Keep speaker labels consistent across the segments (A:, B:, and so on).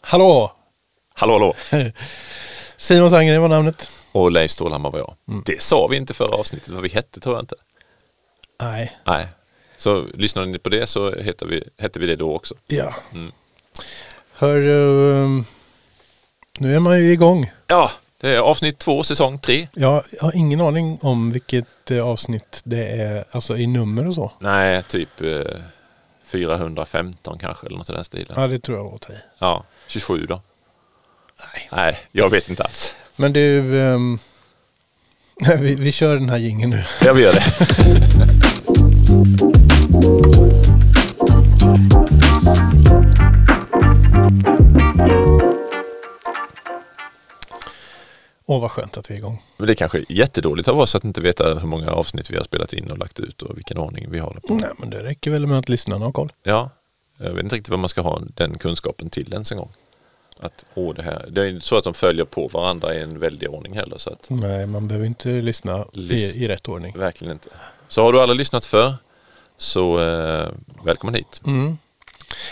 A: Hallå!
B: Hallå, hallå!
A: Simon Sandgren var namnet.
B: Och Leif Stålhammar var jag.
A: Mm.
B: Det sa vi inte förra avsnittet vad vi hette tror jag inte.
A: Nej.
B: Nej. Så lyssnade ni på det så hette vi, hette vi det då också.
A: Ja. Hör, ehm, nu är man ju igång.
B: Ja, det är avsnitt två, säsong tre.
A: Jag har ingen aning om vilket eh, avsnitt det är, alltså i nummer och så.
B: Nej, typ eh, 415 kanske eller något i den stilen.
A: Ja, det tror jag låter i.
B: Ja, 27 då.
A: Nej.
B: Nej, jag vet inte alls.
A: Men du, ehm, vi, vi kör den här jingeln nu.
B: Jag vill göra det.
A: Åh, vad skönt att vi är igång.
B: Men det är kanske är jättedåligt av oss att inte veta hur många avsnitt vi har spelat in och lagt ut och vilken ordning vi har det på.
A: Nej, men det räcker väl med att lyssnarna har koll.
B: Ja, jag vet inte riktigt vad man ska ha den kunskapen till ens en gång. Att, åh, det, här. det är ju inte så att de följer på varandra i en väldig ordning heller. Så att,
A: Nej, man behöver inte lyssna
B: Lys-
A: i, i rätt ordning.
B: verkligen inte. Så har du alla lyssnat för så eh, välkommen hit.
A: Mm.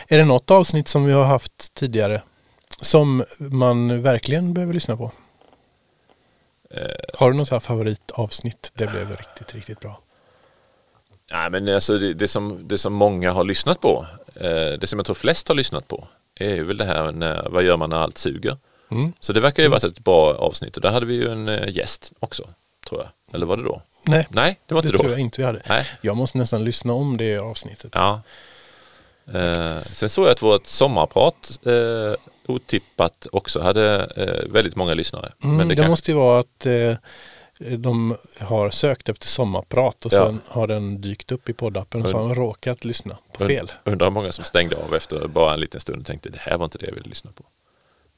A: Är det något avsnitt som vi har haft tidigare som man verkligen behöver lyssna på?
B: Eh.
A: Har du något så här favoritavsnitt? Det blev riktigt, riktigt bra.
B: Nej, men alltså, det, det, som, det som många har lyssnat på, eh, det som jag tror flest har lyssnat på, är ju väl det här när, vad gör man när allt suger?
A: Mm.
B: Så det verkar ju ha varit ett bra avsnitt och där hade vi ju en eh, gäst också, tror jag. Eller var det då?
A: Nej,
B: Nej, det var
A: det
B: inte då.
A: tror jag inte vi hade.
B: Nej.
A: Jag måste nästan lyssna om det avsnittet.
B: Ja. Eh, sen såg jag att vårt sommarprat, eh, otippat, också hade eh, väldigt många lyssnare.
A: Mm, det
B: kanske-
A: måste ju vara att eh, de har sökt efter sommarprat och
B: Ja.
A: sen har den dykt upp i poddappen och så har de råkat lyssna på
B: und-
A: fel.
B: Undrar hur många som stängde av efter bara en liten stund och tänkte det här var inte det jag ville lyssna på.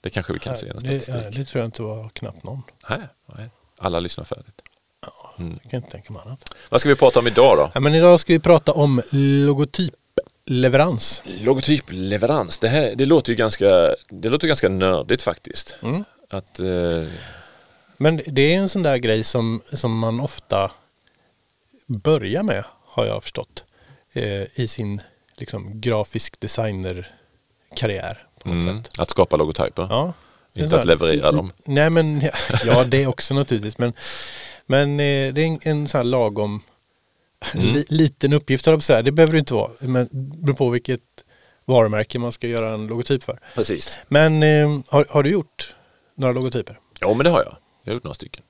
B: Det kanske vi kan se i någon
A: Det,
B: statistik.
A: ja, det tror jag inte var knappt någon.
B: Nej, nej. Alla lyssnar färdigt.
A: Jag kan inte tänka mig annat.
B: Vad ska vi prata om idag då?
A: Ja, men idag ska vi prata om logotypleverans.
B: Logotypleverans, det, här, det, låter ju ganska, det låter ganska nördigt faktiskt. Att, eh,
A: Men det är en sån där grej som, som man ofta börjar med, har jag förstått, eh, i sin liksom, grafisk designer-karriär. På något
B: mm,
A: sätt.
B: att skapa logotyper.
A: Ja.
B: Inte
A: Så här-
B: att leverera dem.
A: Nej, men ja, ja, det också naturligtvis. Men, men eh, det är en, en sån här lagom
B: Mm.
A: li, liten uppgift, höll jag på att säga. Det behöver det inte vara. Men det beror på vilket varumärke man ska göra en logotyp för.
B: Precis.
A: Men eh, har, har du gjort några logotyper?
B: Ja, men det har jag. Jag har gjort några stycken.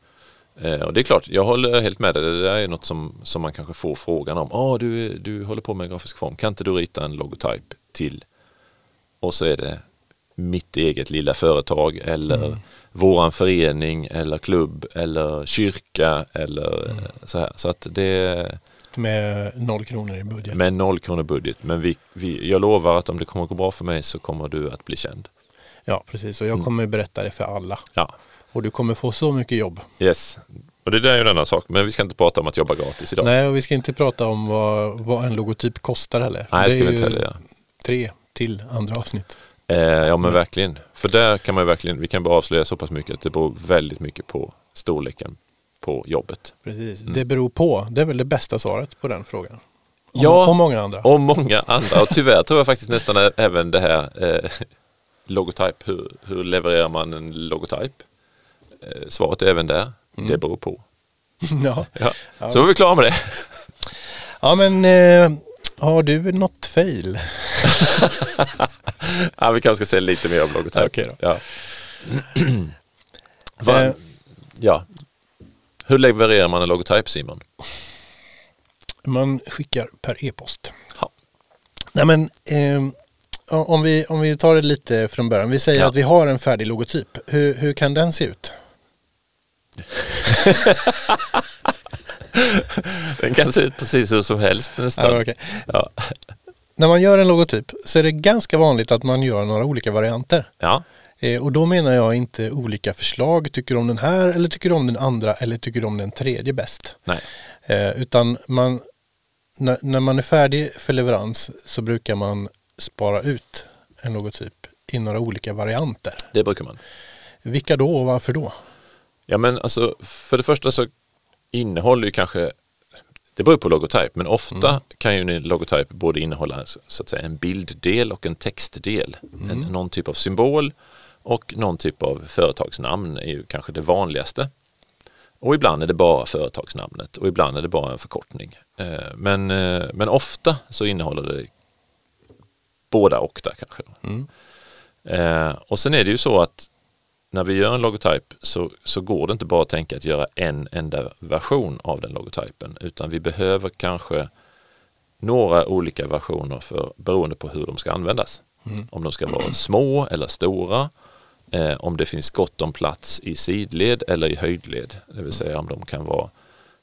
B: Eh, och det är klart, jag håller helt med dig. Det där är något som, som man kanske får frågan om. ah du, du håller på med grafisk form. Kan inte du rita en logotyp till? Och så är det mitt eget lilla företag eller våran förening eller klubb eller kyrka eller eh, så här. Så att det är
A: Med noll kronor i budget.
B: med noll kronor budget. Men vi, vi, jag lovar att om det kommer gå bra för mig så kommer du att bli känd.
A: Ja, precis. Och
B: Mm.
A: jag kommer berätta det för alla.
B: Ja,
A: Och du kommer få så mycket jobb.
B: yes. Och det där är ju en annan sak. Men vi ska inte prata om att jobba gratis idag.
A: Nej, och vi ska inte prata om vad, vad en logotyp kostar heller.
B: Nej, det ska vi
A: är
B: inte
A: ju
B: heller göra.
A: Tre till andra avsnitt.
B: Eh, ja men verkligen. För där kan man ju verkligen, vi kan bara avslöja så pass mycket att det beror väldigt mycket på storleken på jobbet.
A: Precis. Det beror på. Det är väl det bästa svaret på den frågan. Om,
B: Ja.
A: Om många andra.
B: Och många andra, och tyvärr tror jag faktiskt nästan ä- även det här eh, logotyp, hur, hur levererar man en logotyp? Eh, svaret är även där, det beror på.
A: Mm. ja.
B: Ja. Så var vi klara med det.
A: ja, men eh, har du något fail?
B: ja, vi kanske ska säga lite mer om logotyp.
A: Okej då.
B: Ja. Vad-
A: Eh,
B: ja. Hur levererar man en logotyp Simon?
A: man skickar per e-post.
B: Ja.
A: Nej, men ehm, o- om, vi, om vi tar det lite från början. Vi säger
B: Ja.
A: att vi har en färdig logotyp. Hur, hur kan den se ut?
B: Den kan se ut precis hur som helst nästan.
A: Ja, okej.
B: ja.
A: När man gör en logotyp så är det ganska vanligt att man gör några olika varianter.
B: ja.
A: Eh, och då menar jag inte olika förslag. Tycker du om den här eller tycker du om den andra eller tycker du om den tredje bäst?
B: Nej.
A: Eh, utan man, när, när man är färdig för leverans så brukar man spara ut en logotyp i några olika varianter.
B: Det brukar man.
A: Vilka då och varför då?
B: Ja men alltså för det första så innehåller ju kanske Det beror på logotyp, men ofta kan ju en logotyp både innehålla så att säga, en bilddel och en textdel. En, någon typ av symbol och någon typ av företagsnamn är ju kanske det vanligaste. Och ibland är det bara företagsnamnet och ibland är det bara en förkortning. Eh, Men, eh, men ofta så innehåller det båda och där kanske. då. Eh, Och sen är det ju så att när vi gör en logotyp så, så går det inte bara att tänka att göra en enda version av den logotypen utan vi behöver kanske några olika versioner för, beroende på hur de ska användas. Om de ska vara små eller stora, eh, om det finns gott om plats i sidled eller i höjdled, det vill säga om de kan vara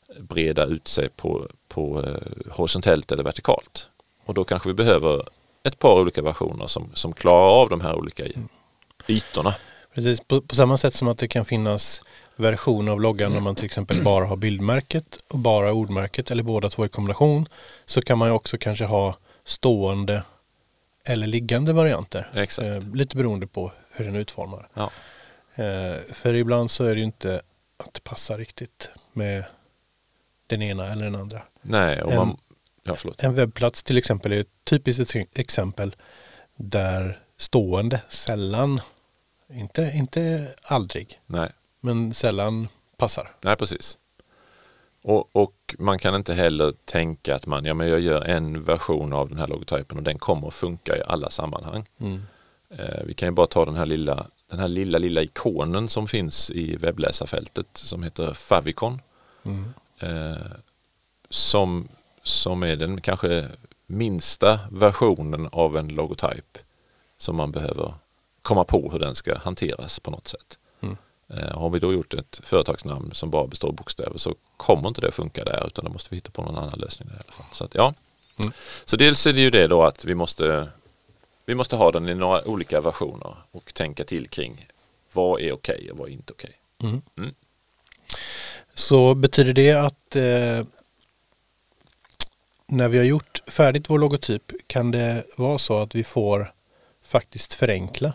B: eh, breda ut sig på, på eh, horisontellt eller vertikalt. Och då kanske vi behöver ett par olika versioner som, som klarar av de här olika ytorna.
A: Precis, på, på samma sätt som att det kan finnas version av loggan om man till exempel bara har bildmärket och bara ordmärket eller båda två i kombination så kan man ju också kanske ha stående eller liggande varianter.
B: Exakt.
A: Eh, lite beroende på hur den utformar.
B: Ja.
A: Eh, för ibland så är det ju inte att det passar riktigt med den ena eller den andra.
B: Nej, och
A: En-
B: man, ja, förlåt.
A: En webbplats till exempel är ett typiskt ex- exempel där stående sällan, inte, inte aldrig,
B: Nej.
A: men sällan passar.
B: Nej, precis. Och, och man kan inte heller tänka att man, ja men jag gör en version av den här logotypen och den kommer att funka i alla sammanhang.
A: Mm.
B: Eh, vi kan ju bara ta den här lilla, den här lilla, lilla ikonen som finns i webbläsarfältet som heter Favicon.
A: Mm.
B: Eh, som, som är den kanske minsta versionen av en logotyp som man behöver komma på hur den ska hanteras på något sätt. Eh, Har vi då gjort ett företagsnamn som bara består av bokstäver så kommer inte det att funka där utan då måste vi hitta på någon annan lösning där i alla fall. Så, att, ja. så dels är det ju det då att vi måste, vi måste ha den i några olika versioner och tänka till kring vad är okej och vad är inte okej.
A: Mm. Så betyder det att eh, när vi har gjort färdigt vår logotyp kan det vara så att vi får faktiskt förenkla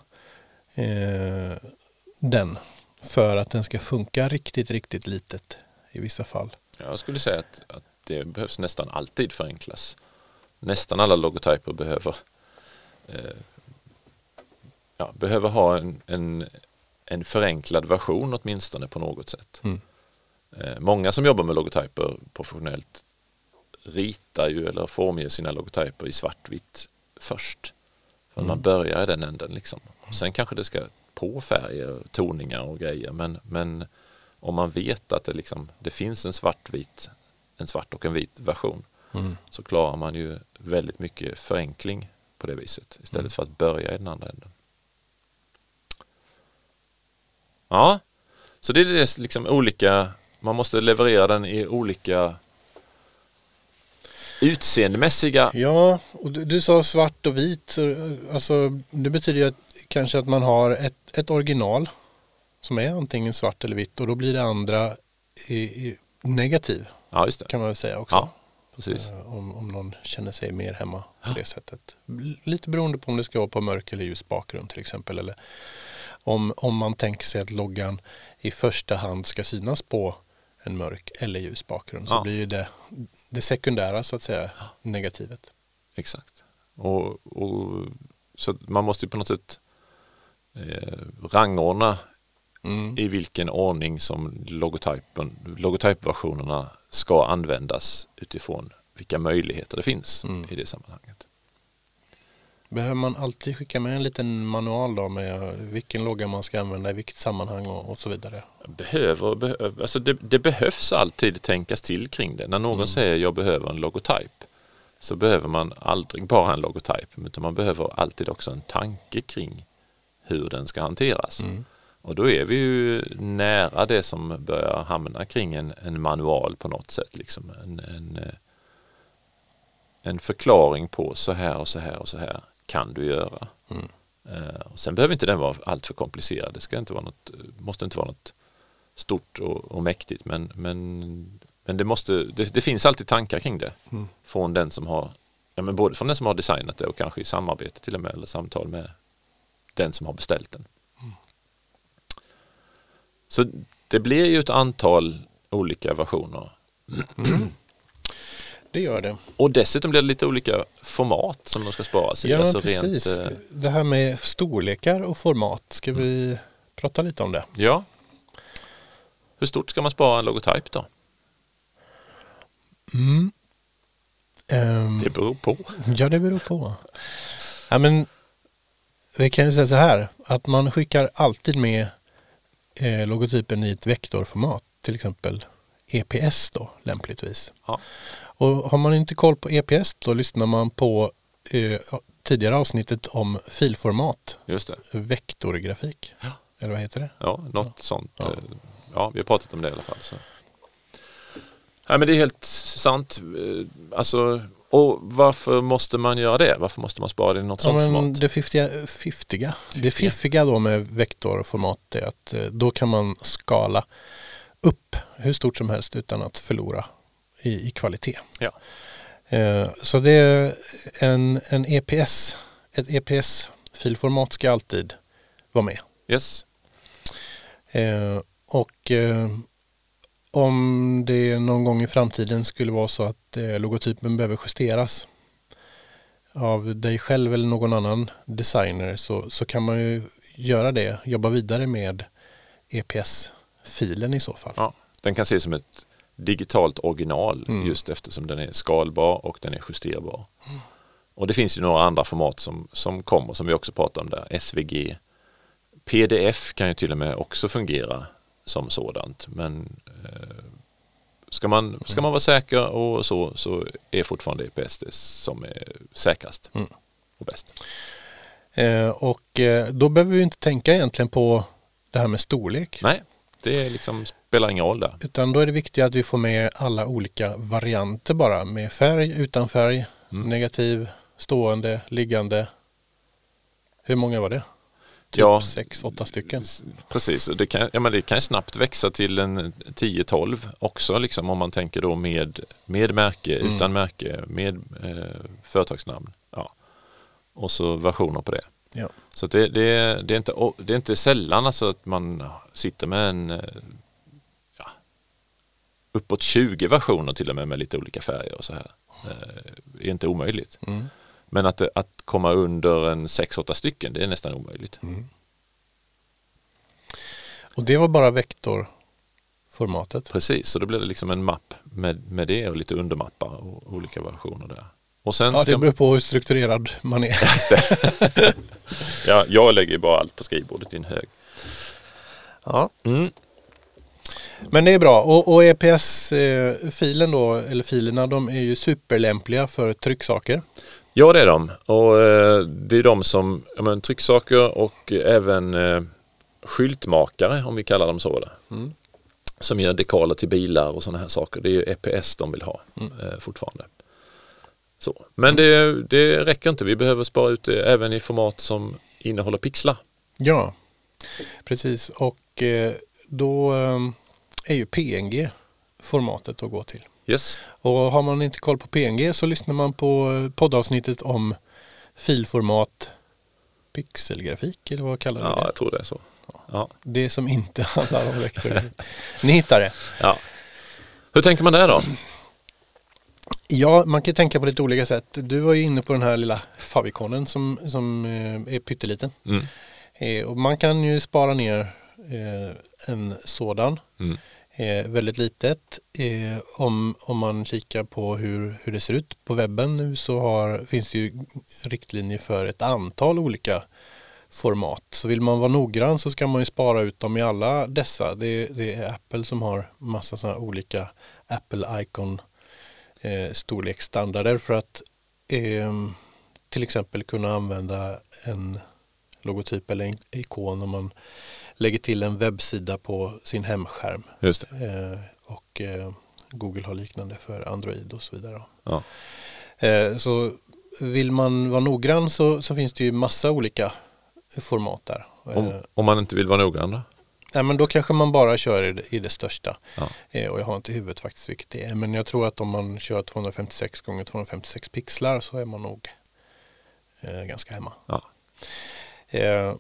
A: eh, den för att den ska funka riktigt, riktigt litet i vissa fall.
B: Jag skulle säga att, att det behövs nästan alltid förenklas. Nästan alla logotyper behöver, eh, ja, behöver ha en, en, en förenklad version åtminstone på något sätt.
A: Mm.
B: Eh, många som jobbar med logotyper professionellt ritar ju eller formger sina logotyper i svartvitt först. För
A: Mm.
B: Man börjar i den änden liksom. Sen kanske det ska på färger, toningar och grejer men, men om man vet att det, liksom, det finns en svartvit, en svart och en vit version så klarar man ju väldigt mycket förenkling på det viset istället
A: Mm.
B: för att börja i den andra änden. Ja, så det är det liksom olika, man måste leverera den i olika utseendemässiga,
A: Ja, och du, du sa svart och vit. så, Alltså, det betyder ju att, kanske att man har ett, ett original som är antingen svart eller vitt och då blir det andra i, i negativ
B: ja just det,
A: kan man väl säga också.
B: ja precis,
A: Eh, Om, om någon känner sig mer hemma på det sättet. L- Lite beroende på om det ska vara på mörk eller ljus bakgrund till exempel. Eller om, om man tänker sig att loggan i första hand ska synas på en mörk eller ljus bakgrund så
B: Ja.
A: blir ju det det sekundära så att säga negativet.
B: exakt. Och, och, så att man måste ju på något sätt eh, rangordna
A: Mm.
B: i vilken ordning som logotypen, logotypversionerna ska användas utifrån vilka möjligheter det finns i det sammanhanget.
A: Behöver man alltid skicka med en liten manual då med vilken logga man ska använda i vilket sammanhang och, och så vidare?
B: Behöver, behöver, alltså det, det behövs alltid tänkas till kring det. När någon säger jag behöver en logotyp så behöver man aldrig bara en logotyp utan man behöver alltid också en tanke kring hur den ska hanteras. Och då är vi ju nära det som börjar hamna kring en, en manual på något sätt. Liksom. En, en, eh, en förklaring på så här och så här och så här kan du göra. Eh, och sen behöver inte den vara alltför komplicerad. Det ska inte vara något, måste inte vara något stort och, och mäktigt. Men, men, men det, måste, det, det finns alltid tankar kring det.
A: Mm.
B: Från den som har, ja, men både från den som har designat det och kanske i samarbete till och med eller samtal med den som har beställt den.
A: Mm.
B: Så det blir ju ett antal olika versioner.
A: det gör det.
B: Och dessutom blir det lite olika format som de ska sparas i.
A: Ja, men
B: Alltså
A: precis.
B: rent, eh, Mm.
A: Det här med storlekar och format, ska vi prata lite om det?
B: ja. Hur stort ska man spara en logotyp då?
A: Mm. Ehm,
B: Det beror på.
A: Ja, det beror på. Ja, men, vi kan ju säga så här, att man skickar alltid med eh, logotypen i ett vektorformat, till exempel EPS då, lämpligtvis.
B: Ja.
A: Och har man inte koll på EPS då lyssnar man på eh, tidigare avsnittet om filformat,
B: Just det.
A: vektorgrafik.
B: Ja.
A: Eller vad heter det?
B: Ja, något sånt.
A: Ja.
B: Ja. ja, vi har pratat om det i alla fall. Så. Nej, men det är helt sant. Eh, Alltså, och varför måste man göra det? Varför måste man spara det i något
A: Ja,
B: sånt
A: men
B: format?
A: det fiffiga, fiffiga. Det fiffiga då med vektorformat är att eh, då kan man skala upp hur stort som helst utan att förlora i, i kvalitet.
B: Ja.
A: Eh, Så det är en, en EPS, ett EPS-filformat ska alltid vara med.
B: Yes.
A: Eh, Och eh, om det någon gång i framtiden skulle vara så att eh, logotypen behöver justeras av dig själv eller någon annan designer så, så kan man ju göra det, jobba vidare med EPS-filen i så fall.
B: Ja. Den kan ses som ett digitalt original
A: Mm.
B: just eftersom den är skalbar och den är justerbar. Och det finns ju några andra format som, som kommer som vi också pratar om där. SVG. PDF kan ju till och med också fungera som sådant. Men eh, ska, man, ska man vara säker och så, så är fortfarande EPS det som är säkrast
A: Mm.
B: och bäst.
A: Eh, Och eh, då behöver vi ju inte tänka egentligen på det här med storlek.
B: Nej, det är liksom, spelar ingen roll där.
A: Utan då är det viktigt att vi får med alla olika varianter bara med färg, utan färg,
B: Mm.
A: negativ, stående, liggande. Hur många var det? Typ
B: Ja.
A: sex, åtta stycken.
B: S- Precis, och det kan, ja, men det kan snabbt växa till en 10-12 också liksom, om man tänker då med, med märke,
A: Mm.
B: utan märke, med eh, företagsnamn. Ja. Och så versioner på det.
A: Ja.
B: Så att det, det, det, är inte, o- det är inte sällan alltså att man sitter med en eh, ja, uppåt 20 versioner till och med med lite olika färger och så här. Eh, Det är inte omöjligt.
A: Mm.
B: Men att, det- att komma under en 6-8 stycken det är nästan omöjligt.
A: Mm. Och det var bara vektorformatet.
B: Precis, så då blir det liksom en mapp med, med det och lite undermappar och olika versioner där. Och sen
A: Ja,
B: ska
A: det beror på hur strukturerad man är.
B: ja, jag lägger ju bara allt på skrivbordet i en hög.
A: ja.
B: Mm.
A: Men det är bra. Och, E och EPS-filen eh, då, eller filerna, de är ju superlämpliga för trycksaker.
B: Ja, det är de. Och eh, det är de som, ja, men, trycksaker och eh, även eh, skyltmakare, om vi kallar dem så. Där, Som gör dekaler till bilar och sådana här saker. Det är ju EPS de vill ha eh, fortfarande. Så. Men det, det räcker inte. Vi behöver spara ut det även i format som innehåller pixlar.
A: Ja, precis. Och eh, då eh, är ju PNG formatet att gå till.
B: Yes.
A: Och har man inte koll på PNG så lyssnar man på eh, poddavsnittet om filformat pixelgrafik eller vad kallar vi
B: Ja,
A: det?
B: jag tror det är så. Ja.
A: Det som inte handlar om vektor. Ni hittar det.
B: Ja. Hur tänker man där då?
A: Ja, man kan ju tänka på lite olika sätt. Du var ju inne på den här lilla favikonen som, som eh, är pytteliten.
B: Mm.
A: Eh, Och man kan ju spara ner eh, en sådan.
B: Mm.
A: eh, väldigt litet. Eh, om, om man kikar på hur, hur det ser ut på webben nu så har, finns det ju riktlinjer för ett antal olika format. Så vill man vara noggrann så ska man ju spara ut dem i alla dessa. Det, det är Apple som har massa sådana olika Apple Icon eh, storleksstandarder för att ehm, till exempel kunna använda en logotyp eller en ikon om man lägger till en webbsida på sin hemskärm.
B: Just det.
A: Eh, och eh, Google har liknande för Android och så vidare.
B: Ja.
A: Eh, så vill man vara noggrann så, så finns det ju massa olika format där. Eh,
B: Om, om man inte vill vara noggrann då?
A: nej, men då kanske man bara kör i det, i det största.
B: Ja.
A: Eh, och jag har inte i huvudet faktiskt vilket det är. Men jag tror att om man kör 256 gånger 256 pixlar så är man nog eh, ganska hemma.
B: Ja.
A: Eh,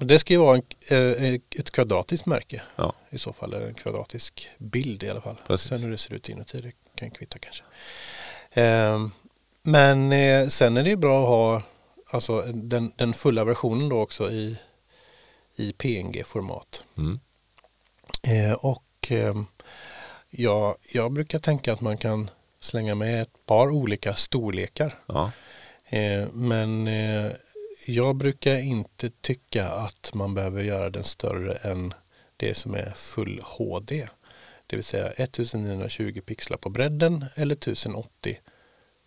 A: och det ska ju vara en, eh, ett kvadratiskt märke
B: ja.
A: i så fall är det en kvadratisk bild i alla fall.
B: Precis.
A: Sen hur det ser ut inuti, det kan ju kvitta kanske. Ehm, men eh, sen är det ju bra att ha alltså, den, den fulla versionen då också i, i PNG-format.
B: Mm.
A: Eh, och eh, jag, jag brukar tänka att man kan slänga med ett par olika storlekar.
B: Ja.
A: Eh, men eh, jag brukar inte tycka att man behöver göra den större än det som är full HD. Det vill säga 1920 pixlar på bredden eller 1080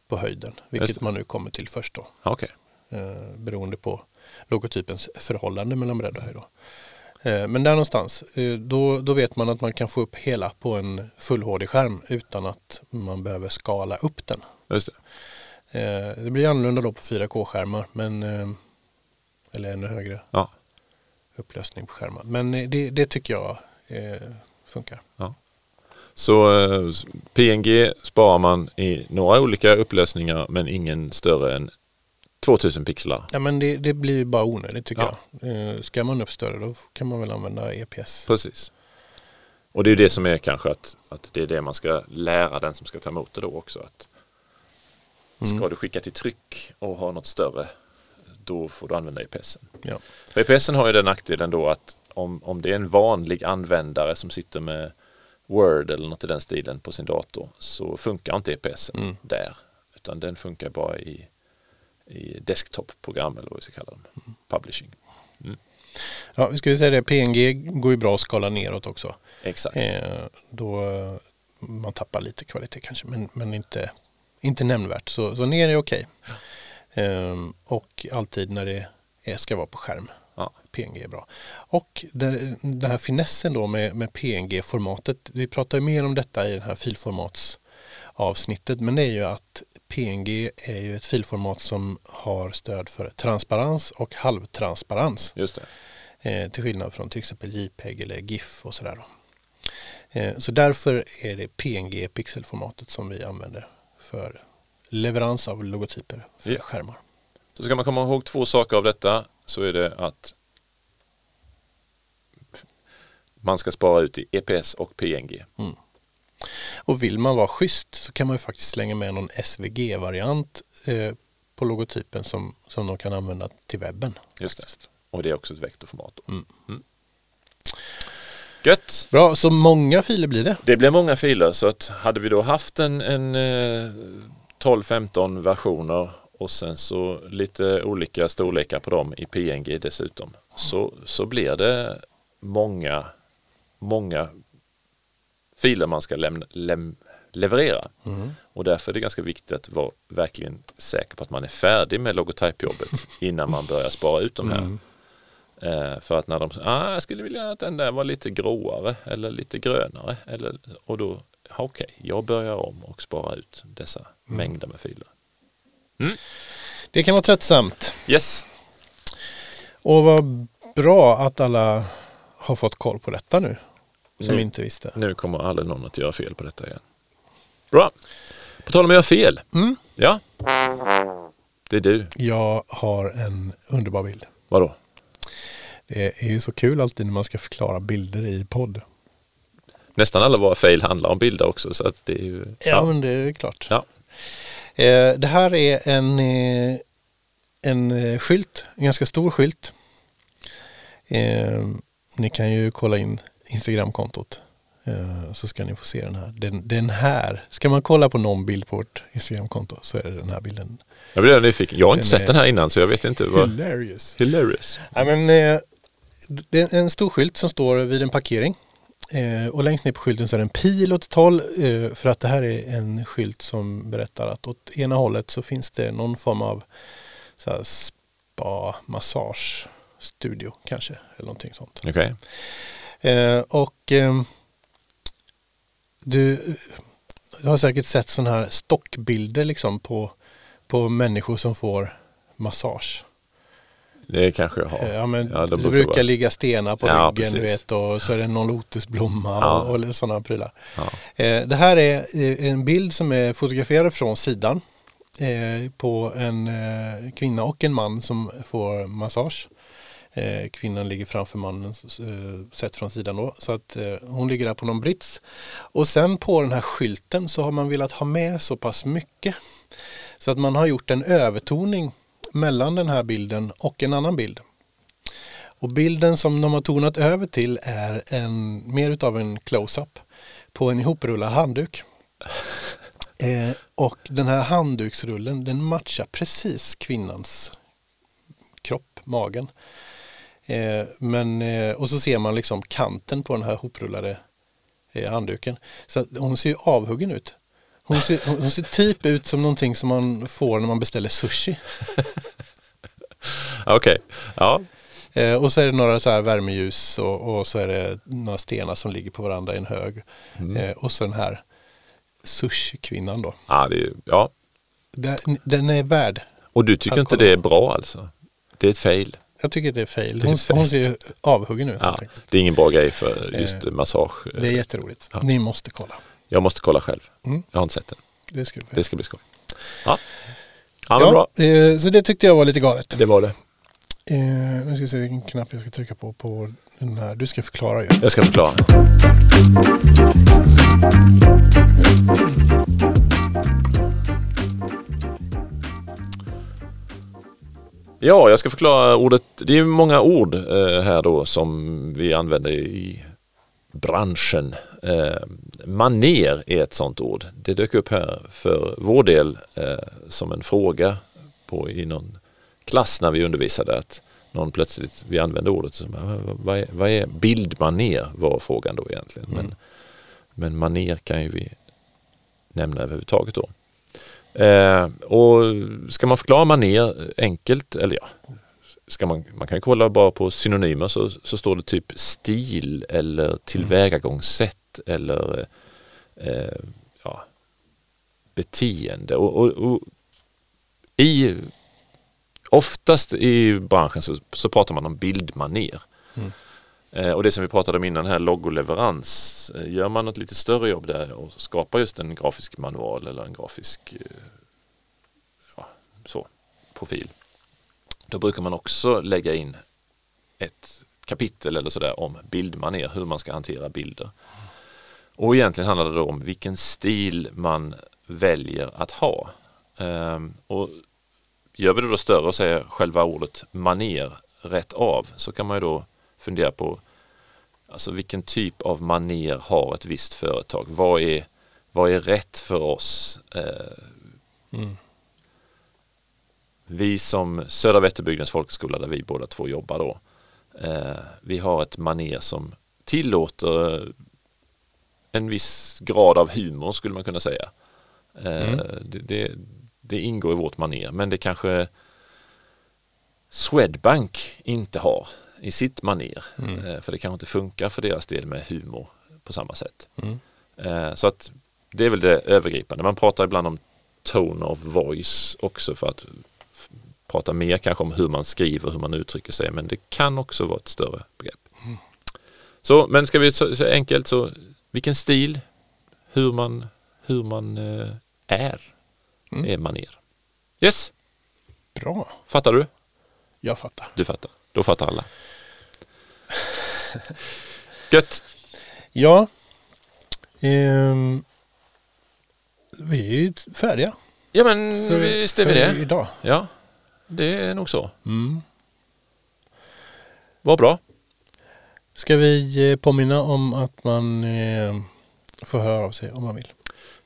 A: på höjden.
B: Just
A: Vilket
B: det.
A: man nu kommer till först då.
B: Ja, Okej.
A: Eh, beroende på logotypens förhållande mellan bredd och höjd. Då. Eh, men där någonstans, eh, då, då vet man att man kan få upp hela på en full HD-skärm utan att man behöver skala upp den.
B: Just det.
A: Eh, Det blir annorlunda då på 4K-skärmar, men eh, eller ännu högre
B: Ja.
A: upplösning på skärmar. Men eh, det, det tycker jag eh, funkar.
B: Ja. Så eh, s- PNG sparar man i några olika upplösningar men ingen större än 2000 pixlar.
A: Ja, men det, det blir ju bara onödigt tycker
B: Ja.
A: jag. Eh, Ska man upp större då kan man väl använda E EPS.
B: Precis. Och det är ju det som är kanske att, att det är det man ska lära den som ska ta emot det då också. Att Ska du skicka till tryck och ha något större då får du använda IPSen.
A: Ja.
B: För IPSen har ju den nackdelen då att om, om det är en vanlig användare som sitter med Word eller något i den stilen på sin dator så funkar inte IPSen
A: Mm.
B: där. Utan den funkar bara i, i desktop-program eller vad vi ska kalla dem.
A: Mm.
B: Publishing.
A: ja, vi ska ju säga det, PNG går ju bra att skala neråt också.
B: Exakt.
A: Eh, Då eh, man tappar lite kvalitet kanske, men, men inte, inte nämnvärt. Så, så ner är okej. Ehm, Och alltid när det är, ska vara på skärm.
B: Ja.
A: PNG är bra. Och det- den här finessen då med, med PNG-formatet, vi pratar ju mer om detta i det här filformatsavsnittet, men det är ju att PNG är ju ett filformat som har stöd för transparens och halvtransparens.
B: Just det.
A: Eh, till skillnad från till exempel JPEG eller GIF och sådär. Då. Eh, så därför är det PNG, pixelformatet, som vi använder för leverans av logotyper för
B: Ja.
A: skärmar.
B: Så ska man komma ihåg två saker av detta så är det att man ska spara ut i EPS och PNG.
A: Mm. Och vill man vara schysst så kan man ju faktiskt slänga med någon SVG-variant eh, på logotypen som, som de kan använda till webben.
B: Just det. Och det är också ett vektorformat. Då.
A: Mm.
B: Gött!
A: Bra, så många filer blir det.
B: Det blir många filer så att hade vi då haft en, en eh, 12-15 versioner och sen så lite olika storlekar på dem i PNG dessutom så, så blir det många, många filer man ska lämna, lem, leverera. Och därför är det ganska viktigt att vara verkligen säker på att man är färdig med logotypjobbet innan man börjar spara ut de här. Eh, för att när de säger, ah, jag skulle vilja att den där var lite gråare eller lite grönare. Eller, och då, "Ja, okej, jag börjar om och sparar ut dessa
A: Mm.
B: mängder med filer.
A: Det kan vara tröttsamt.
B: Yes,
A: Och vad bra att alla har fått koll på detta nu. Som
B: Mm.
A: inte visste.
B: nu kommer aldrig någon att göra fel på detta igen. Bra. På tal om att göra fel.
A: Mm.
B: Ja. Det är du.
A: Jag har en underbar bild.
B: Vadå?
A: Det är ju så kul alltid när man ska förklara bilder i podd.
B: Nästan alla våra fail handlar om bilder också så att det är ju...
A: Ja, men det är klart.
B: ja.
A: Eh, det här är en, eh, en eh, skylt, en ganska stor skylt. Eh, ni kan ju kolla in Instagramkontot eh, så ska ni få se den här. Den, den här, ska man kolla på någon bild på vårt Instagramkonto så är det den här bilden.
B: Jag blev nyfiken. Jag har inte
A: Den
B: sett
A: är-
B: den här innan så jag vet inte
A: Mm.
B: vad...
A: Hilarious.
B: Hilarious.
A: Ja, men, eh, det är en stor skylt som står vid en parkering. Eh, och längst ner på skylten så är det en pil åt ett håll. Eh, för att det här är en skylt som berättar att åt ena hållet så finns det någon form av så här, spa, massage, studio kanske. Eller någonting sånt.
B: Okej.
A: Eh, och ehm, du, du har säkert sett sådana här stockbilder liksom på, på människor som får massage.
B: Det kanske jag har.
A: Ja, men
B: Ja,
A: det
B: det
A: brukar,
B: vara-
A: ligga stenar på
B: Ja,
A: ryggen du
B: precis.
A: vet, och så är det någon lotusblomma
B: Ja.
A: och, och sådana prylar.
B: Ja.
A: Eh, det här är eh, en bild som är fotograferad från sidan eh, på en eh, kvinna och en man som får massage. Eh, Eh, kvinnan ligger framför mannen eh, sett från sidan då. Så att eh, hon ligger där på någon brits. Och sen på den här skylten så har man velat ha med så pass mycket. Så att man har gjort en övertoning mellan den här bilden och en annan bild. Och bilden som de har tonat över till är en, mer utav en close-up på en ihoprullad handduk. Eh, och den här handduksrullen den matchar precis kvinnans kropp, magen. Eh, men, eh, och så ser man liksom kanten på den här hoprullade eh, handduken. Så att hon ser ju avhuggen ut. Hon ser, hon, hon ser typ ut som någonting som man får när man beställer sushi.
B: Okej, ja.
A: Eh, och så är det några så här värmeljus och, och så är det några stenar som ligger på varandra i en hög.
B: Mm.
A: Eh, och så den här sushi-kvinnan då.
B: Ja, det är, ju- ja.
A: Den, den är värd.
B: Och du tycker
A: Att
B: inte
A: kolla.
B: det är bra alltså? Det är ett fail.
A: Jag tycker det är fail.
B: är
A: Hon,
B: fail.
A: hon ser ju avhuggen ut.
B: Ja,
A: helt enkelt.
B: det är ingen bra grej för just
A: Eh,
B: massage.
A: Det är jätteroligt.
B: Ja.
A: Ni måste kolla.
B: Jag måste kolla själv.
A: Mm.
B: Jag har inte sett den.
A: Det ska vi.
B: Det ska bli skoj. Ja, ja men bra.
A: Ja, eh, så det tyckte jag var lite galet.
B: Det var det.
A: Eh, nu ska vi se vilken knapp jag ska trycka på på den här. Du ska förklara ju.
B: Jag ska förklara. Ja, jag ska förklara ordet. Det är ju många ord eh, här då som vi använder i branschen. Eh, maner är ett sånt ord. Det dök upp här för vår del eh, som en fråga på, i någon klass när vi undervisade att någon plötsligt, vi använde ordet som, "Vad- vad är, vad är bildmaner var frågan då egentligen. Men, men maner kan ju vi nämna överhuvudtaget då. Eh, och ska man förklara maner enkelt, eller ja, ska man, man kan ju kolla bara på synonymer så, så står det typ stil eller tillvägagångssätt eller eh, ja, beteende. Och, och, och i, oftast i branschen så, så pratar man om bildmaner. Eh, Och det som vi pratade om innan här, logoleverans. Eh, Gör man ett lite större jobb där och skapar just en grafisk manual eller en grafisk eh, ja, så, profil. Då brukar man också lägga in ett kapitel eller sådär om bildmaner, hur man ska hantera bilder. Och egentligen handlar det då om vilken stil man väljer att ha. Ehm, Och gör vi det då större och säger själva ordet maner rätt av så kan man ju då fundera på alltså vilken typ av maner har ett visst företag? Vad är, vad är rätt för oss? Eh, Vi som Södra Vätterbygdens folkhögskola där vi båda två jobbar då. Eh, vi har ett maner som tillåter eh, en viss grad av humor skulle man kunna säga. Eh, det, det, det ingår i vårt maner men det kanske Swedbank inte har i sitt maner. Eh, För det kanske inte funkar för deras del med humor på samma sätt. Eh, Så att det är väl det övergripande. Man pratar ibland om tone of voice också för att f- prata mer kanske om hur man skriver, hur man uttrycker sig. Men det kan också vara ett större begrepp. Så, men ska vi så, så enkelt så, vilken stil, hur man, hur man eh, är, är maner. Yes,
A: Bra,
B: fattar du?
A: jag fattar.
B: Du fattar. Då fattar alla. Gött.
A: Ja, ehm, vi är ju färdiga.
B: Ja men
A: för-
B: visst är vi
A: Mm. för
B: det.
A: Idag.
B: Ja, det är nog så.
A: Mm.
B: Vad bra.
A: Ska vi eh, påminna om att man eh, får höra av sig om man vill.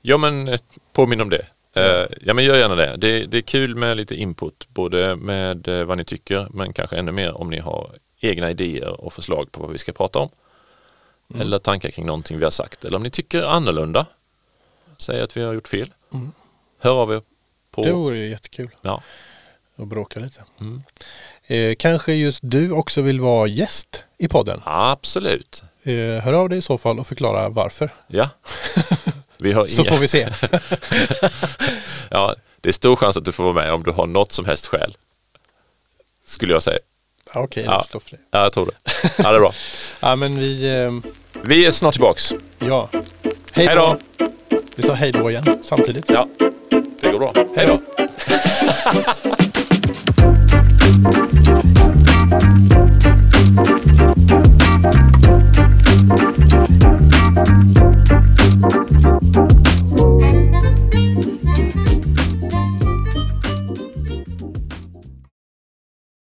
B: Ja men eh, påminn om det. Eh, Ja men gör gärna det. det. Det är kul med lite input, både med eh, vad ni tycker men kanske ännu mer om ni har egna idéer och förslag på vad vi ska prata om. Eller tankar kring någonting vi har sagt. Eller om ni tycker annorlunda, säg att vi har gjort fel. Hör av er
A: Det
B: på...
A: vore ju jättekul
B: Ja,
A: att bråka lite.
B: Mm.
A: Eh, kanske just du också vill vara gäst i podden.
B: absolut.
A: Eh, hör av dig i så fall och förklara varför.
B: Ja. Vi har
A: Så
B: inga...
A: får vi se.
B: Ja, det är stor chans att du får vara med om du har något som helst skäl. Skulle jag säga.
A: Ja, Okej,
B: Ja.
A: det står för det.
B: Ja, jag tror det. Ja, det är bra.
A: Ja, men vi... ehm,
B: Vi är snart tillbaks.
A: Ja. Hej
B: Hej
A: då!
B: då!
A: Vi sa hej då igen samtidigt.
B: Ja, det går bra. Hej då!